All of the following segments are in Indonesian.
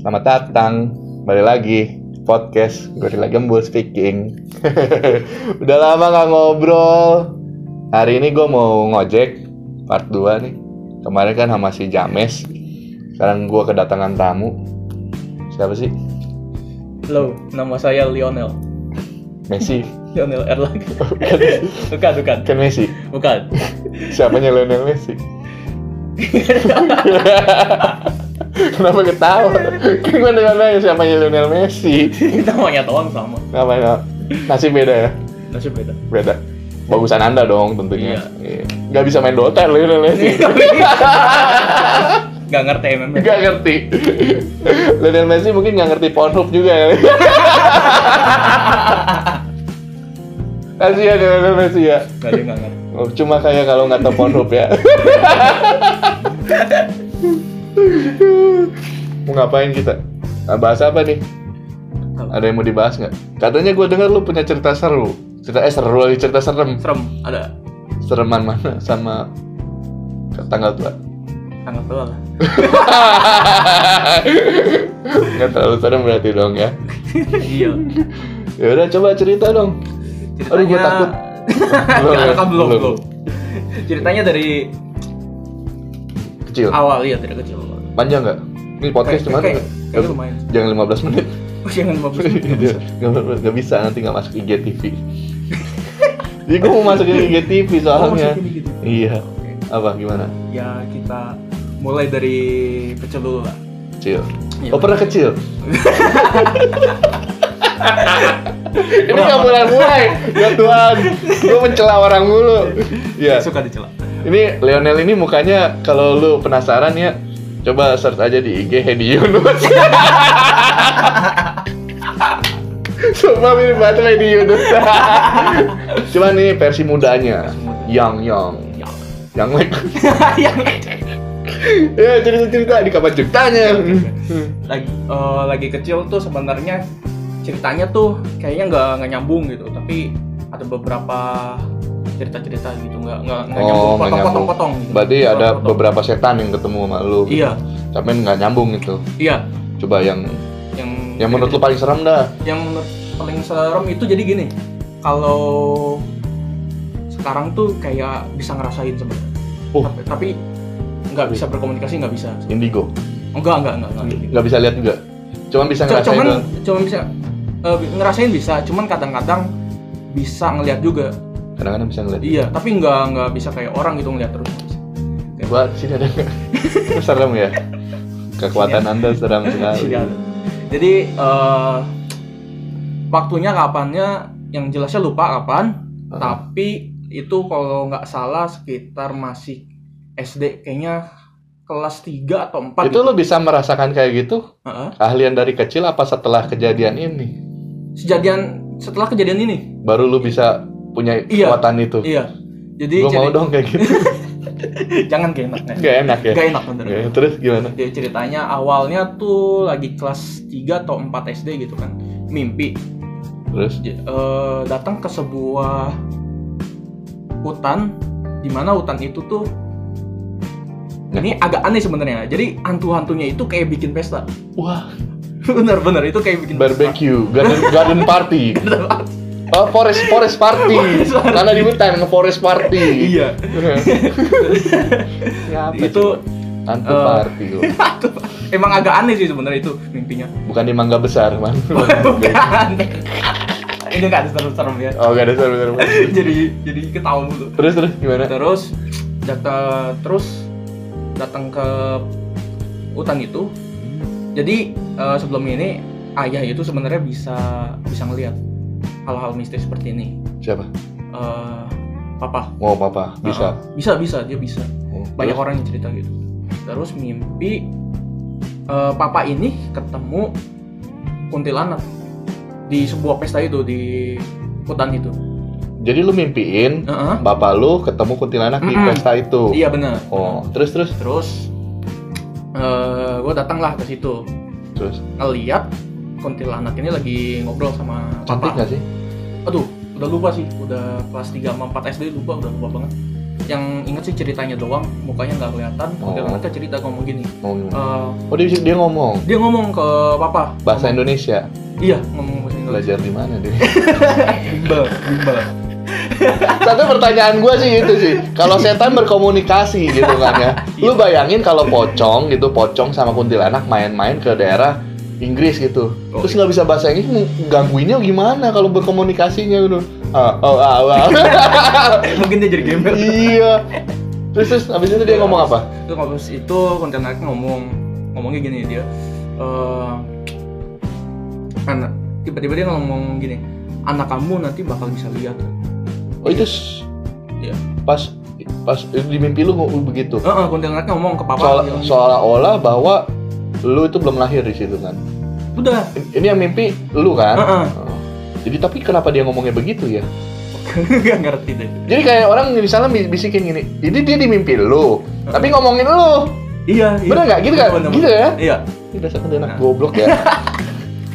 Selamat datang kembali lagi podcast Gorilla Gembul Speaking. Udah lama nggak ngobrol. Hari ini gue mau ngojek part 2 nih. Kemarin kan sama si James. Sekarang gue kedatangan tamu. Siapa sih? Halo, nama saya Lionel. Messi. Lionel Erlangga. bukan, bukan. Kan Messi. Bukan. Siapanya Lionel Messi? Kenapa ketawa? Kan gue dengar nanya siapanya Lionel Messi. Namanya doang sama. Namanya nasib beda ya? Nasib beda. Beda. Bagusan Anda dong tentunya. Iya. Gak bisa main Dota Lionel Messi. Iya. Gak ngerti MMA. Gak ngerti. Lionel Messi mungkin gak ngerti Pornhub juga ya. Kasihan ya Lionel Messi ya. Oh, Gak dia gak ngerti. Cuma kayak kalau nggak tahu Pornhub ya. mau ngapain kita? Nah, bahas apa nih? Apa? Ada yang mau dibahas nggak? Katanya gue dengar lu punya cerita seru. Cerita eh seru lagi cerita serem. Serem, ada Sereman mana sama tanggal tua? tanggal tua lah. Nggak terlalu serem berarti dong ya. iya. Ya udah coba cerita dong. Aduh, gua takut. Belum, Gak, kan belum, belum. belum. Ceritanya dari Kecil. awal, iya dari kecil. Panjang nggak? Ini podcast Kayak- cuma kayak- kayak lumayan. Oh, jangan 15 menit. Jangan mau Iya, nggak bisa. Nggak bisa nanti nggak masuk IGTV. Jadi gue mau masukin IGTV soalnya. Oh, masukin IGTV. Iya. Apa gimana? Ya kita mulai dari kecil dulu lah. Kecil. Iya. Oh pernah kecil. Ini Pernah, nggak mulai mulai. Ya Tuhan, gue mencela orang mulu. Iya. Suka dicela. Ini Lionel ini mukanya kalau lu penasaran ya coba search aja di IG Hedi Yunus. Sumpah mirip banget sama Hedi Yunus. Cuman ini versi mudanya. Yang yang Ya. Iya. yang like. Yang ya cerita-cerita di kapan ceritanya. Iya, lagi eh, lagi kecil tuh sebenarnya ceritanya tuh kayaknya nggak nggak nyambung gitu tapi ada beberapa cerita-cerita gitu nggak nggak nggak nyambung Oh, nggak nyambung. potong-potong-potong gitu. Berarti ada Potong-potong. beberapa setan yang ketemu sama lu. iya Tapi nggak nyambung itu. iya Coba yang yang yang menurut lu paling serem dah. yang menurut paling serem itu jadi gini kalau sekarang tuh kayak bisa ngerasain sebenarnya Oh. Iya. tapi, tapi nggak bisa berkomunikasi nggak bisa Indigo. enggak enggak enggak, enggak. Nggak bisa lihat juga. Cuman bisa C- ngerasain cuman doang. cuman bisa eh, ngerasain bisa cuman kadang-kadang bisa ngelihat juga Kadang-kadang bisa ngeliat. iya tapi nggak nggak bisa kayak orang gitu ngelihat terus Gua sini ada nggak? serem ya. Kekuatan Anda serem sekali. Iya. jadi eh, waktunya kapannya yang jelasnya lupa kapan Uh-uh. tapi itu kalau nggak salah sekitar masih SD kayaknya kelas 3 atau 4 Itu lo bisa merasakan kayak gitu? Heeh. Keahlian dari kecil apa setelah kejadian ini? Sejadian setelah kejadian ini. Baru lu bisa punya Iya. kekuatan itu? Iya. Jadi Gue mau jadi- dong kayak gitu. jangan keenak. Nek. Gak enak ya? Nggak enak bener. Nggak enak. Terus gimana? Jadi ceritanya awalnya tuh lagi kelas 3 atau 4 SD gitu kan. Mimpi Terus? J- eh, datang ke sebuah hutan di mana hutan itu tuh ini agak aneh sebenarnya. Jadi hantu-hantunya itu kayak bikin pesta. Wah, Bener-bener itu kayak bikin pesta. barbecue, garden, garden party. Oh, forest forest party. Forest party. Karena di hutan forest party. Iya. itu itu hantu eh, party lo. emang agak aneh sih sebenarnya itu mimpinya. Bukan di mangga besar, man. Bukan. ini nggak ada serem-serem ya. Oh, gak ada serem-serem. jadi jadi ketawa dulu. Terus terus gimana? terus data terus datang ke hutan itu jadi eh, sebelum ini ayah itu sebenarnya bisa bisa ngelihat hal-hal mistis seperti ini Siapa? Eh, papa Oh, papa bisa. Eh, bisa bisa dia bisa Oh, banyak terus? orang yang cerita gitu terus mimpi eh, papa ini ketemu kuntilanak di sebuah pesta itu di hutan itu Jadi lu mimpiin Heeh. bapak lu ketemu kuntilanak di Mm-mm. pesta itu. iya benar Oh, terus terus terus gue datanglah ke situ terus. ngeliat kuntilanak ini lagi ngobrol sama Cantik papa gak sih? aduh udah lupa sih udah kelas 3 sama 4 SD lupa udah lupa banget yang inget sih ceritanya doang mukanya nggak kelihatan Oh. kemudian mereka cerita ngomong gini Ngomong gimana? eh, Oh dia, dia ngomong dia ngomong ke papa bahasa Ngomong- Indonesia. iya ngomong bahasa Indonesia Belajar di mana dia? bimbel bimbel Tapi pertanyaan gue sih itu sih. Kalau setan berkomunikasi gitu kan ya. Lu bayangin kalau pocong gitu, pocong sama kuntilanak main-main ke daerah Inggris gitu. Terus nggak bisa bahasa Inggris, mau gangguinnya gimana kalau berkomunikasinya gitu? Ah, oh, ah, ah. mungkin dia jadi gamer iya. Terus terus abis itu dia ngomong apa? itu ngomong itu konten ngomong ngomongnya gini dia eh anak tiba-tiba dia ngomong gini anak kamu nanti bakal bisa lihat Oh itu s- Iya. pas pas di mimpi lu ngomong begitu. Heeh, uh, ngomong ke papa Soal, bilang, seolah-olah bahwa lu itu belum lahir di situ kan. udah Ini yang mimpi lu kan? Heeh. Oh. Jadi tapi kenapa dia ngomongnya begitu ya? nggak ngerti deh Jadi kayak orang misalnya bi- bisikin gini, ini dia di mimpi lu, tapi ngomongin lu. iya, iya. Bener nggak? Gitu nggak? Bener-bener. Gitu ya? iya Ini dasar kan dia anak goblok ya.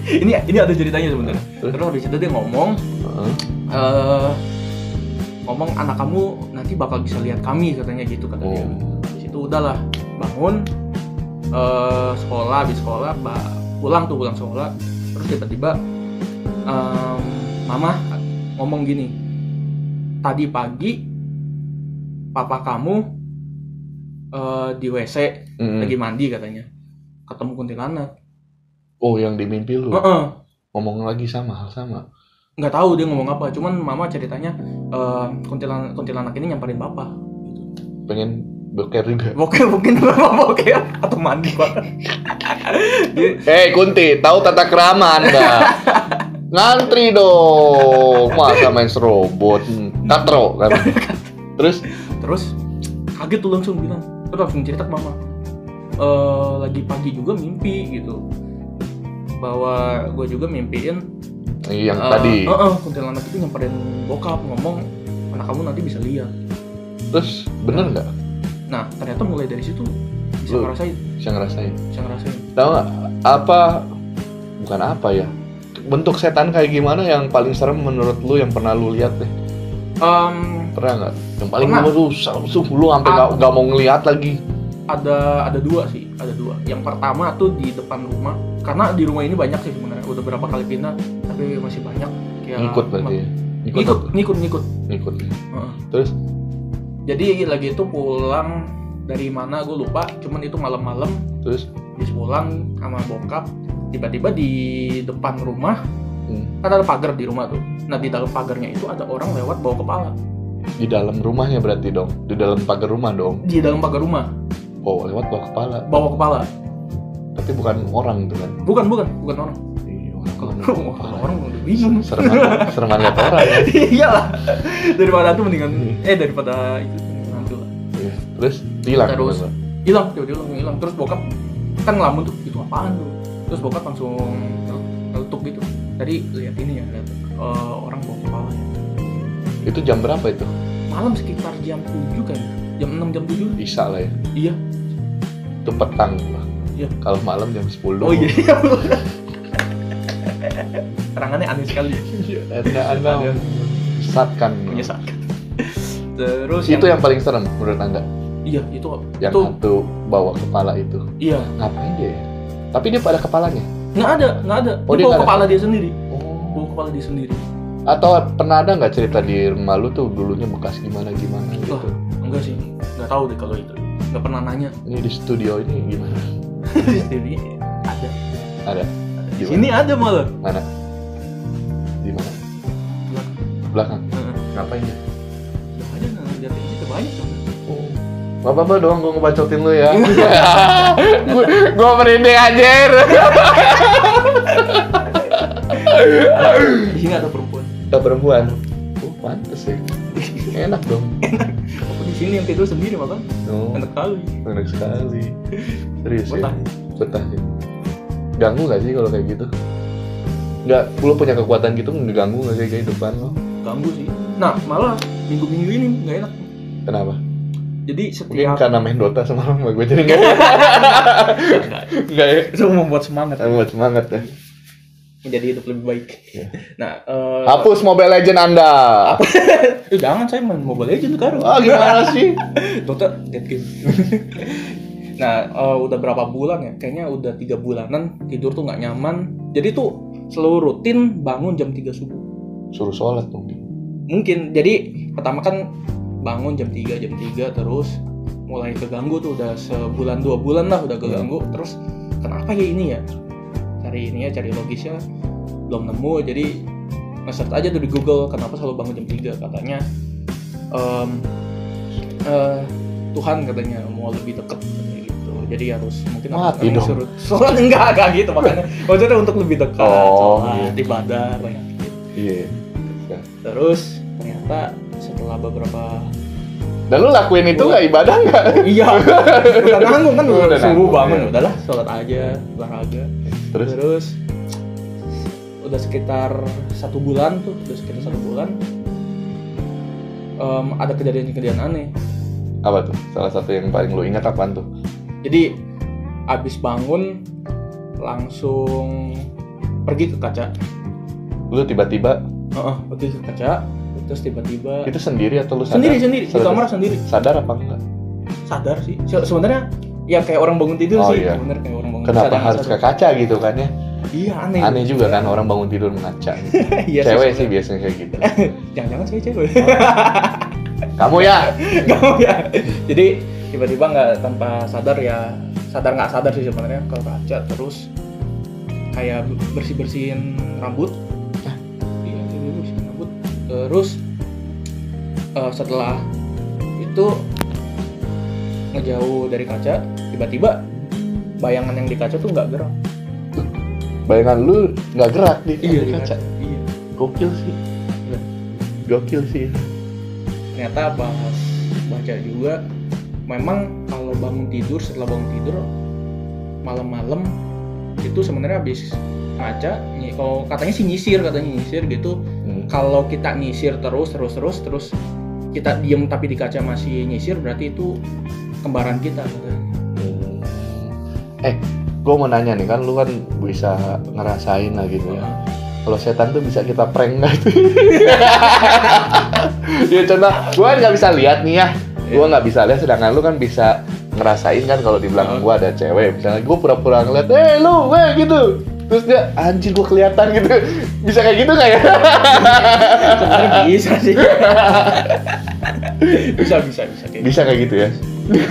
ini ini ada ceritanya sebenarnya Terus? terus habis itu dia ngomong Heeh. eh ngomong anak kamu nanti bakal bisa lihat kami katanya gitu kata dia Oh. di situ udahlah bangun eh sekolah habis sekolah ba- pulang tuh pulang sekolah terus tiba-tiba em, mama ngomong gini tadi pagi papa kamu eh, di WC Mm-mm. lagi mandi katanya ketemu kuntilanak Oh, yang di mimpi lu. Heeh. Ngomong lagi sama hal sama. nggak tahu dia ngomong apa cuman mama ceritanya eh, kuntilanak kuntilanak ini nyamperin papa Pengen boker juga. Boker mungkin mama boker atau mandi pak Dia- Eh Kunti, tahu tata kerama anda? Ngantri dong, masa main serobot, Hmm, katro kan? Terus, terus kaget tuh langsung bilang terus langsung cerita ke mama Eh lagi pagi juga mimpi gitu bahwa gue juga mimpiin yang eh, tadi, eh, eh, kuntilanak itu nyamperin bokap ngomong anak kamu nanti bisa lihat terus bener nggak? nah ternyata mulai dari situ bisa Lu. ngerasain Saya ngerasain. bisa ngerasain Tahu nggak apa? Bukan apa ya? Bentuk setan kayak gimana yang paling serem menurut lu yang pernah lu lihat deh? Em, Pernah nggak? Yang paling Pernah. menurut lu langsung lu sampai nggak nggak mau ngelihat lagi. ada ada dua sih ada dua yang pertama tuh di depan rumah karena di rumah ini banyak sih sebenarnya udah berapa kali pindah tapi masih banyak kayak Ngikut berarti. ya? Ngikut. ngikut ngikut ngikut Ngikut. Heeh. Terus jadi lagi itu pulang dari mana gue lupa cuman itu malam-malam terus habis pulang sama bokap tiba-tiba di depan rumah hmm, kan ada pagar di rumah tuh nah di dalam pagarnya itu ada orang lewat bawa kepala di dalam rumahnya berarti dong, di dalam pagar rumah dong. di dalam pagar rumah Oh, lewat bawah kepala. bawa kepala Tapi bukan orang itu kan. bukan bukan bukan orang Iya, kalau orang. orang orang udah bingung Serangan, serangan lihat orang ya. iyalah daripada itu mendingan eh daripada itu mendingan hantu lah Iya. Terus hilang. Terus. bener. hilang tiba-tiba langsung hilang terus bokap kan ngelamun tuh itu apaan tuh terus bokap langsung tel- teletuk gitu tadi lihat ini ya lihat eh, orang bawa kepala ya Itu jam berapa itu? malam sekitar jam 7 kan jam 6 jam 7 Bisa lah ya. iya Itu petang lah. Iya. Kalau malam jam 10. oh iya iya terangannya aneh sekali Iya. Ada ada yang sesatkan. menyesatkan terus Itu yang paling serem menurut Anda. iya itu Yang itu hantu bawa kepala itu. iya Ngapain dia ya? Tapi dia pada kepalanya. nggak ada nggak ada Oh, dia dia bawa nggak ada. kepala dia sendiri Oh. bawa kepala dia sendiri Atau pernah ada nggak cerita di rumah lu tuh dulunya bekas gimana gimana gitu? Wah, enggak sih nggak tahu deh kalau itu nggak pernah nanya Ini di studio ini gimana? jadi ada Ada di Gimana? sini ada malah mana? Di mana? Belakang. Heeh. Ngapain dia? ya ada nggak ngeliatin kita banyak Oh. Gak apa-apa dong, gue ngebacotin lu ya Gue gue merinding anjir di sini ada perempuan Kita perempuan Oh pantes ya Enak dong aku di sini yang tidur sendiri makan Oh, enak kali enak sekali Serius ya? betah Betah ya? Ganggu gak sih kalau kayak gitu? Nggak, lu punya kekuatan gitu ngeganggu gak sih kehidupan lo? ganggu sih nah malah minggu minggu ini nggak enak Kenapa? jadi Mungkin setiap karena main Dota semalam sama gue jadi Iya. nggak Nggak, nggak. Nggak ya? itu membuat semangat Emang buat semangat ya menjadi hidup lebih baik. Iya. Nah, eh, Hapus Mobile Legend Anda. eh, jangan saya main Mobile Legends sekarang. Ah, gimana sih? Dota dead game. nah, eh, udah berapa bulan ya? Kayaknya udah tiga bulanan tidur tuh nggak nyaman. Jadi tuh selalu rutin bangun jam 3 subuh. Suruh sholat dong. dia. Mungkin. Jadi pertama kan bangun jam 3, jam 3 terus mulai keganggu tuh udah sebulan dua bulan lah udah keganggu Iya. terus kenapa ya ini ya cari ini ya cari logisnya belum nemu jadi nge-search aja tuh di Google kenapa selalu bangun jam 3 katanya em, eh, Tuhan katanya mau lebih deket katanya gitu jadi harus mungkin Mati orang-orang dong. suruh sholat enggak enggak gitu makanya maksudnya untuk lebih dekat Oh, sholat iya. ibadah banyak gitu. Iya. terus ternyata setelah beberapa Dan lu lakuin itu nggak ibadah nggak? iya udah nanggung kan Udah udah suruh nanggung, bangun iya. udahlah sholat aja olahraga Terus terus, udah sekitar satu bulan tuh udah sekitar satu bulan em, ada kejadian-kejadian aneh apa tuh? Salah satu yang paling lu ingat apaan tuh? jadi abis bangun langsung pergi ke kaca Lu tiba-tiba Heeh, pergi ke kaca terus tiba-tiba itu sendiri atau lu sadar? sendiri sendiri di Sadar. kamar sendiri Sadar apa enggak? sadar sih Se- sebenarnya ya kayak orang bangun tidur Oh, sih iya. bener kayak orang bangun Kenapa sadar, harus ke sadar. kaca gitu kan ya? iya aneh Aneh juga kan orang bangun tidur mengaca. Iya Cewek sih sebenarnya. biasanya kayak gitu. jangan-jangan saya cewek Kamu ya? Gak mau ya. Jadi tiba-tiba nggak tanpa sadar ya sadar nggak sadar sih sebenarnya kalau kaca terus kayak bersih bersihin rambut. Iya tiba-tiba bersihin rambut. Terus eh, setelah itu ngejauh dari kaca tiba-tiba bayangan yang di kaca tuh nggak gerak. Bayangan lu nggak gerak di, di Di kaca. Iya. Gokil sih. Iya. Gokil sih. ternyata bahas baca juga memang kalau bangun tidur setelah bangun tidur malam-malam itu sebenarnya habis ngaca nyi- kalau katanya sih nyisir katanya nyisir gitu Hmm. kalau kita nyisir terus terus terus terus kita diem tapi di kaca masih nyisir berarti itu kembaran kita katanya. Hmm. Eh, gue mau nanya nih kan lu kan bisa ngerasain lah gitu ya. Kalau setan tuh bisa kita prank nggak itu? ya contoh, gue kan nggak bisa lihat nih ya. Gue nggak bisa lihat, sedangkan lu kan bisa ngerasain kan kalau di belakang gue ada cewek. Misalnya gue pura-pura ngeliat, eh lu, weh gitu. Terus dia anjir gue kelihatan gitu. Bisa kayak gitu nggak ya? sebenarnya bisa sih bisa bisa bisa kayak bisa kayak gitu ya.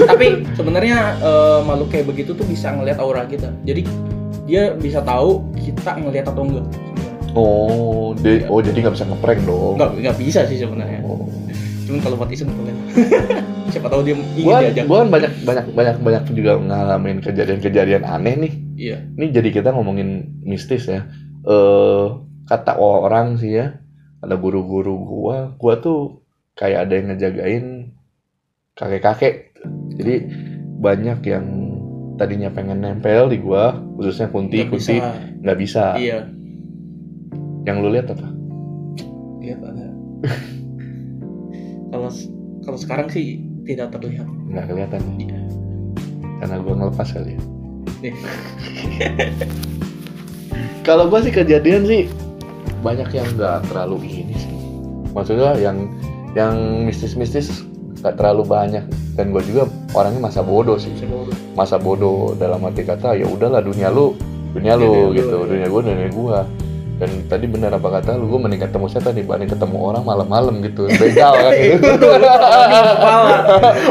tapi sebenarnya eh, makhluk kayak begitu tuh bisa ngelihat aura kita jadi dia bisa tahu kita ngelihat atau enggak Oh, de- oh jadi nggak bisa ngeprank dong. enggak enggak bisa sih sebenarnya Oh. cuman kalau buat iseng boleh siapa tahu Iya, dia ingin Gua, diajak gua kan banyak banyak banyak banyak juga ngalamin kejadian-kejadian aneh nih. iya Ini jadi kita ngomongin mistis ya. Eh kata orang sih ya, ada guru-guru gua, gua tuh kayak ada yang ngejagain kakek-kakek. Jadi banyak yang tadinya pengen nempel di gua, khususnya kunti Nggak kunti bisa. nggak bisa. iya Yang lu lihat apa? lihat ada kalau kalau sekarang sih tidak terlihat Nggak kelihatan ya? Iya. Karena gua ngelepas kali ya. Nih. Kalau gua sih kejadian sih banyak yang nggak terlalu ini sih. Maksudnya yang yang mistis-mistis nggak terlalu banyak dan gua juga orangnya masa bodoh sih. Seluruh. Masa bodoh dalam arti kata ya udahlah dunia lu, dunia lu Dunia lu, gitu, iya. dunia gua dunia gua. Dan tadi benar apa kata lu, gue mending ketemu setan dibanding ketemu orang malam-malam gitu. Begal kan gitu.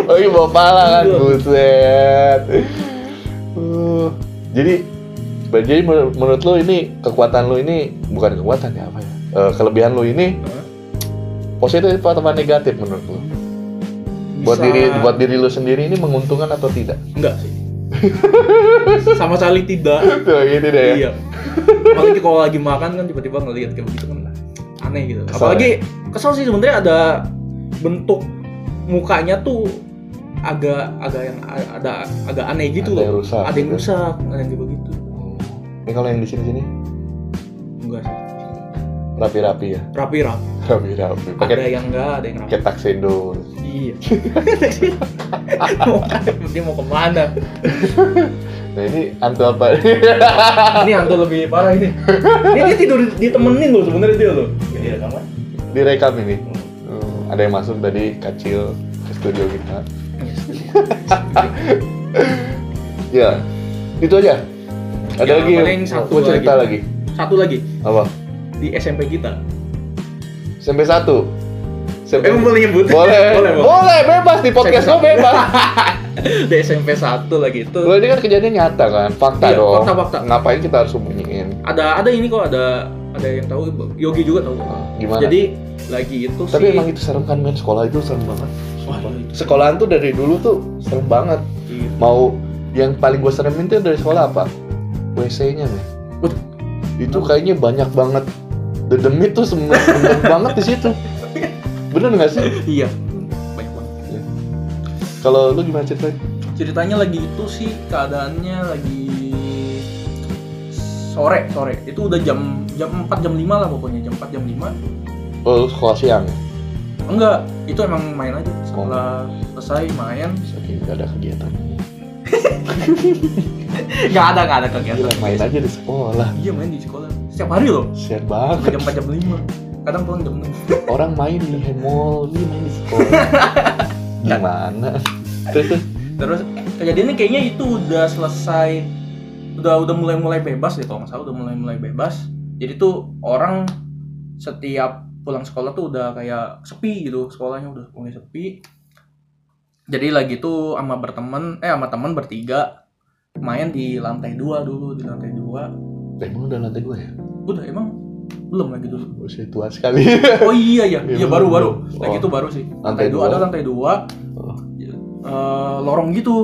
Lagi bawa pala kan, Iya. buset. Uh, jadi, jadi menur- menurut lo ini kekuatan lo ini bukan kekuatan ya apa ya? Eh, kelebihan lo ini Hah? positif atau negatif menurut lo? Buat Bisa- diri buat diri lo sendiri ini menguntungkan atau tidak? enggak sih sama sekali tidak Tuh gitu deh. ya. Iya. Apalagi kalau lagi makan kan tiba-tiba ngelihat kayak begitu kan aneh gitu. Kesel ya. Apalagi kesel sih sebenarnya ada bentuk mukanya tuh agak agak yang a- ada agak aneh gitu Ada loh. yang rusak ada yang gitu. rusak, ada yang kayak begitu. Ini kalau yang di sini sini Enggak sih. rapi-rapi ya rapi rapi rapi-rapi ada pakai yang enggak ada yang rapi pakai taksendo iya mau kan? dia mau kemana nah ini antu apa ini yang tuh lebih parah ini dia, dia tidur ditemenin loh sebenarnya dia loh Iya, Jadi rekaman. direkam ini Hmm, ada yang masuk tadi kecil ke studio kita Iya, ya itu aja ada Ya, lagi paling satu mau cerita lagi. satu lagi apa di SMP kita SMP satu SMP eh boleh nyebut boleh Oh, boleh, boleh. boleh bebas di podcast lo SMP bebas di SMP satu lagi itu Lo ini kan kejadian nyata kan, fakta Iya, dong. fakta-fakta. Ngapain kita harus sembunyiin? ada ada ini kok ada ada yang tahu Yogi juga tahu kok. Nah, Gimana? jadi lagi itu gitu. tapi si- emang itu serem kan men sekolah itu serem banget. Wah, itu- Sekolahan tuh dari dulu tuh serem banget. Iya. Mau yang paling gue seremin tuh dari sekolah apa? WC-nya men. Waduh. Itu kayaknya banyak banget. Dedemit tuh semen semen banget di situ. Bener nggak sih? iya banyak banget Kalau lu gimana ceritanya? ceritanya lagi itu sih keadaannya lagi sore sore itu udah jam jam 4 jam 5 lah pokoknya jam 4 jam 5 Oh, lu sekolah siang. enggak itu emang main aja setelah selesai main Saking nggak ada kegiatan. nggak ada nggak ada Gila, kegiatan main aja di sekolah. iya main di sekolah setiap hari loh Sian Sampai banget. jam 4 jam 5 kadang pulang jam 6 orang main di mall, ini main di sekolah. Gimana? Terus terus, terus kejadiannya kayaknya itu udah selesai udah udah mulai mulai bebas deh kalau nggak salah udah mulai mulai bebas jadi tuh orang setiap pulang sekolah tuh udah kayak sepi gitu sekolahnya udah mulai sepi jadi lagi tuh sama berteman eh sama teman bertiga main di lantai dua dulu di lantai dua emang udah lantai dua ya? udah emang belum lagi dulu Usia tua sekali. oh iya iya Iya, iya belum, baru baru belum. lagi Oh. itu baru sih Lantai lantai dua dua. ada lantai dua Oh. Eh, lorong gitu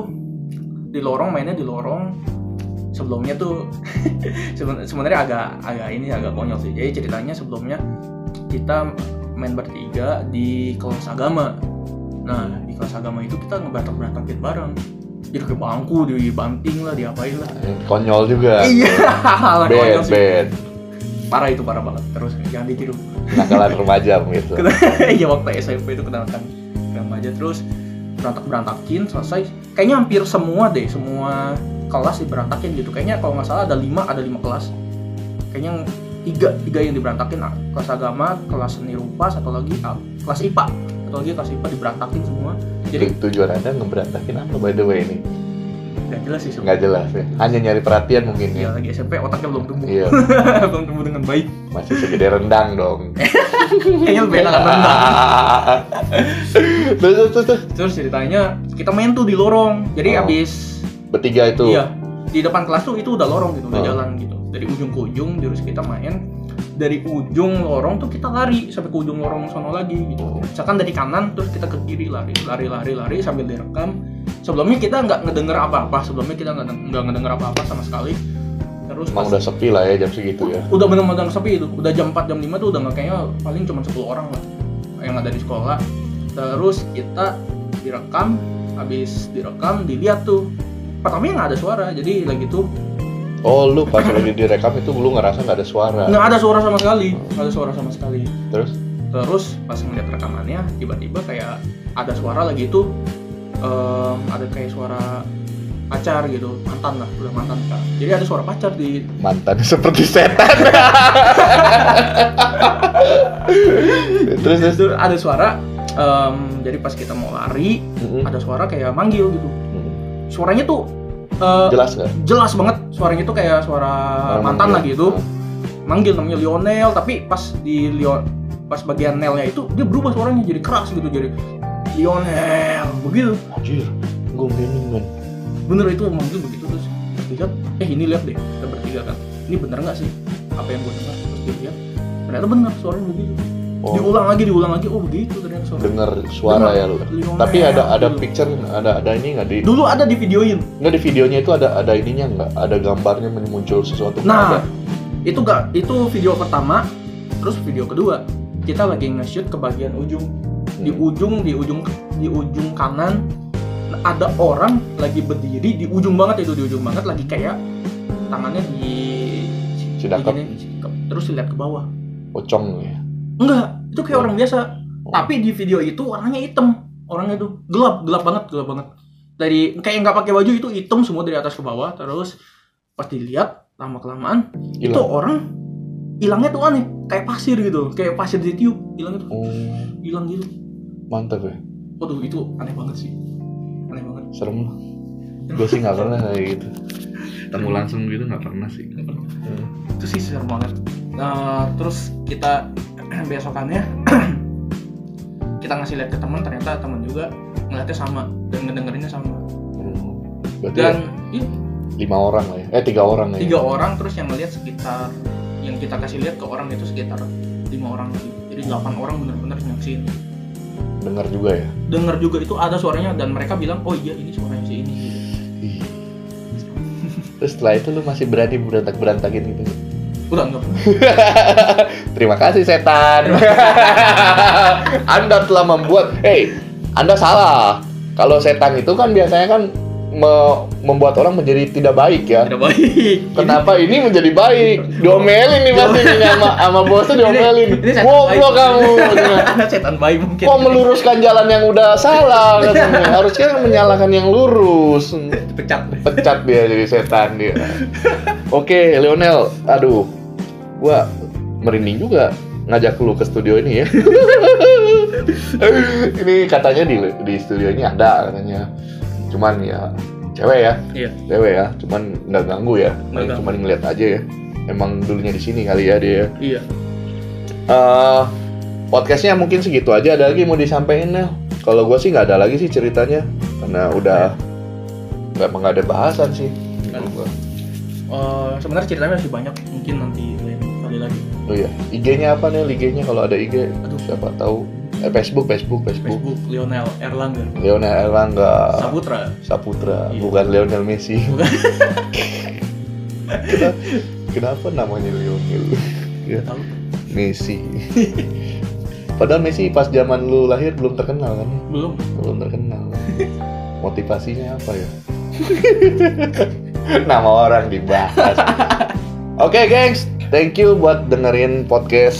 di lorong mainnya di lorong sebelumnya tuh seben- sebenarnya agak agak ini agak konyol sih jadi ceritanya sebelumnya kita main bertiga di kelas agama nah di kelas agama itu kita ngebatak batakin bareng jadi ke bangku dibanting lah diapain lah Konyol juga. iya hal konyol Eh. Bad, sih bad. parah itu parah banget terus jangan ditiru Nakalan remaja gitu. iya waktu SMP itu kenakan remaja terus berantak berantakin selesai kayaknya hampir semua deh semua kelas diberantakin gitu kayaknya kalau nggak salah ada lima ada lima kelas kayaknya yang tiga tiga yang diberantakin ah, kelas agama kelas seni rupa satu lagi ah, kelas IPA satu lagi kelas IPA diberantakin semua jadi Jadi tujuan anda ngeberantakin apa by the way ini? nggak jelas sih sebenarnya Nggak jelas ya. Hanya nyari perhatian mungkin Iya, ya. lagi SMP otaknya belum tumbuh Iya, belum tumbuh dengan baik masih segede rendang dong. kayaknya lebih enak rendah terus, terus, terus, terus. terus ceritanya kita main tuh di lorong Oh. jadi abis Bertiga itu. Iya, di depan kelas tuh itu udah lorong gitu, udah Oh. jalan gitu. Dari ujung ke ujung terus kita main. Dari ujung lorong tuh kita lari sampai ke ujung lorong sono lagi Oh. gitu. Misalkan dari kanan terus kita ke kiri lari, lari, lari, lari sambil direkam. Sebelumnya kita nggak ngedenger apa-apa, sebelumnya kita nggak nggak ngedenger apa-apa sama sekali. Terus Emang pas- udah sepi lah ya jam segitu ya. udah bener-bener sepi itu udah jam 4 jam 5 tuh udah nggak kayaknya paling cuma 10 orang lah yang ada di sekolah terus kita direkam habis direkam dilihat tuh pertamanya nggak ada suara jadi lagi tuh Oh lu pas lagi direkam itu lu ngerasa nggak ada suara. nggak ada suara sama sekali nggak ada suara sama sekali Terus terus pas ngeliat rekamannya tiba-tiba kayak ada suara lagi itu em, ada kayak suara pacar gitu mantan lah udah mantan kan jadi ada suara pacar di mantan seperti setan. terus terus. itu ada suara em, jadi pas kita mau lari Mm-mm. ada suara kayak manggil gitu Mm. suaranya tuh eh, jelas. Jelas nggak? banget suaranya tuh kayak suara Orang Eh, mantan manggil. Hmm. lagi itu manggil namanya Lionel tapi pas di Leo pas bagian Nelnya itu dia berubah suaranya jadi keras gitu jadi Lionel begitu Ah, Anjir, gue merinding men. bener itu manggil begitu terus lihat eh ini lihat deh kita bertiga kan ini bener nggak sih apa yang gue dengar terus dilihat ternyata bener suaranya begitu Oh, diulang lagi diulang lagi oh begitu ternyata suara denger suara Dengar. ya lu. Lionel, Tapi ada ada gitu. picture, ada ada ini nggak di dulu ada di videoin nggak di videonya itu ada ada ininya nggak? Ada gambarnya men- muncul sesuatu? nggak ada. Nah, itu gak itu video pertama, terus video kedua kita lagi nge-shoot ke bagian ujung, di Hmm. ujung, di ujung, di ujung kanan nah, ada orang lagi berdiri di ujung banget itu di ujung banget lagi kayak tangannya di Sidakap. diginiin, sidakap. terus lihat ke bawah, pocong ya. Enggak, itu kayak orang biasa. Oh. Tapi di video itu orangnya hitam. Orangnya itu gelap, gelap banget, gelap banget. Dari kayak nggak pakai baju itu hitam semua dari atas ke bawah. Terus pas dilihat lama kelamaan itu Hilang. orang hilangnya tuh aneh, kayak pasir gitu, kayak pasir ditiup, hilangnya tuh Oh, hilang gitu. mantap ya. Waduh itu aneh banget sih, aneh banget. Serem lah. Gue sih nggak pernah kayak gitu. Temu langsung gitu nggak pernah sih. Hmm. Itu sih serem banget. Nah, terus kita besokannya kita ngasih lihat ke teman, ternyata teman juga ngeliatnya sama dan ngedengerinnya sama. Hmm. Berarti ya, dan ih, lima orang lah ya. Eh tiga orang lah ya. tiga orang terus yang ngeliat sekitar yang kita kasih lihat ke orang itu sekitar lima orang lagi jadi delapan orang bener-bener nyaksiin Dengar juga ya. dengar juga itu ada suaranya dan mereka bilang oh iya ini suaranya si ini Ih. Terus setelah itu lu masih berani berantak berantakin gitu. udah enggak Terima kasih setan. anda telah membuat. Hey, Anda salah. Kalau setan itu kan biasanya kan me- membuat orang menjadi tidak baik ya. tidak baik Kenapa ini menjadi baik? Diomelin nih pasti nih sama sama bosnya diomelin. Ini- ini setan Goblok baik. kamu. Ini setan baik mungkin Kok meluruskan jalan yang udah salah katanya. Harusnya menyalakan yang lurus. pecat Pecat dia jadi setan dia. Oke, Lionel. Aduh. Gua merinding juga ngajak lu ke studio ini ya. ini katanya di di studio ini ada katanya. Cuman ya cewek ya iya cewek ya cuman nggak ganggu ya paling ganggu. cuman ngeliat aja ya emang dulunya di sini kali ya dia iya Eh, podcastnya mungkin segitu aja ada lagi mau disampaikan Nel? kalau gue sih nggak ada lagi sih ceritanya karena udah nggak emang nggak ada bahasan sih Nggak Eh, sebenarnya ceritanya masih banyak mungkin nanti lain kali lagi oh iya IG-nya apa Nel IG-nya kalau ada IG Aduh. siapa tahu eh, Facebook Facebook Facebook Facebook Lionel Erlangga Lionel Erlangga Saputra Saputra Iya. bukan Lionel Messi Bukan. Kenapa- kenapa namanya Lionel ya tahu Messi. Padahal Messi pas zaman lu lahir belum terkenal kan? belum Belum terkenal. Motivasinya apa ya? Nama orang dibahas. Oke, gengs. Thank you buat dengerin podcast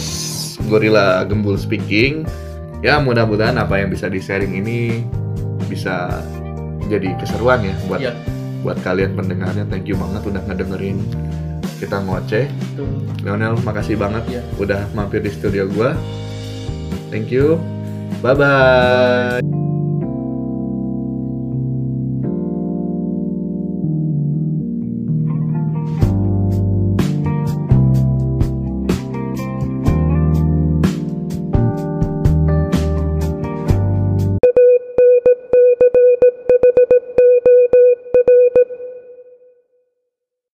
Gorilla Gembul Speaking. Ya, mudah-mudahan apa yang bisa di-sharing ini bisa jadi keseruan ya buat iya buat kalian pendengarnya. Thank you banget udah ngedengerin kita ngoceh. itu Lionel makasih banget Iya. udah mampir di studio gua. Thank you. Bye bye.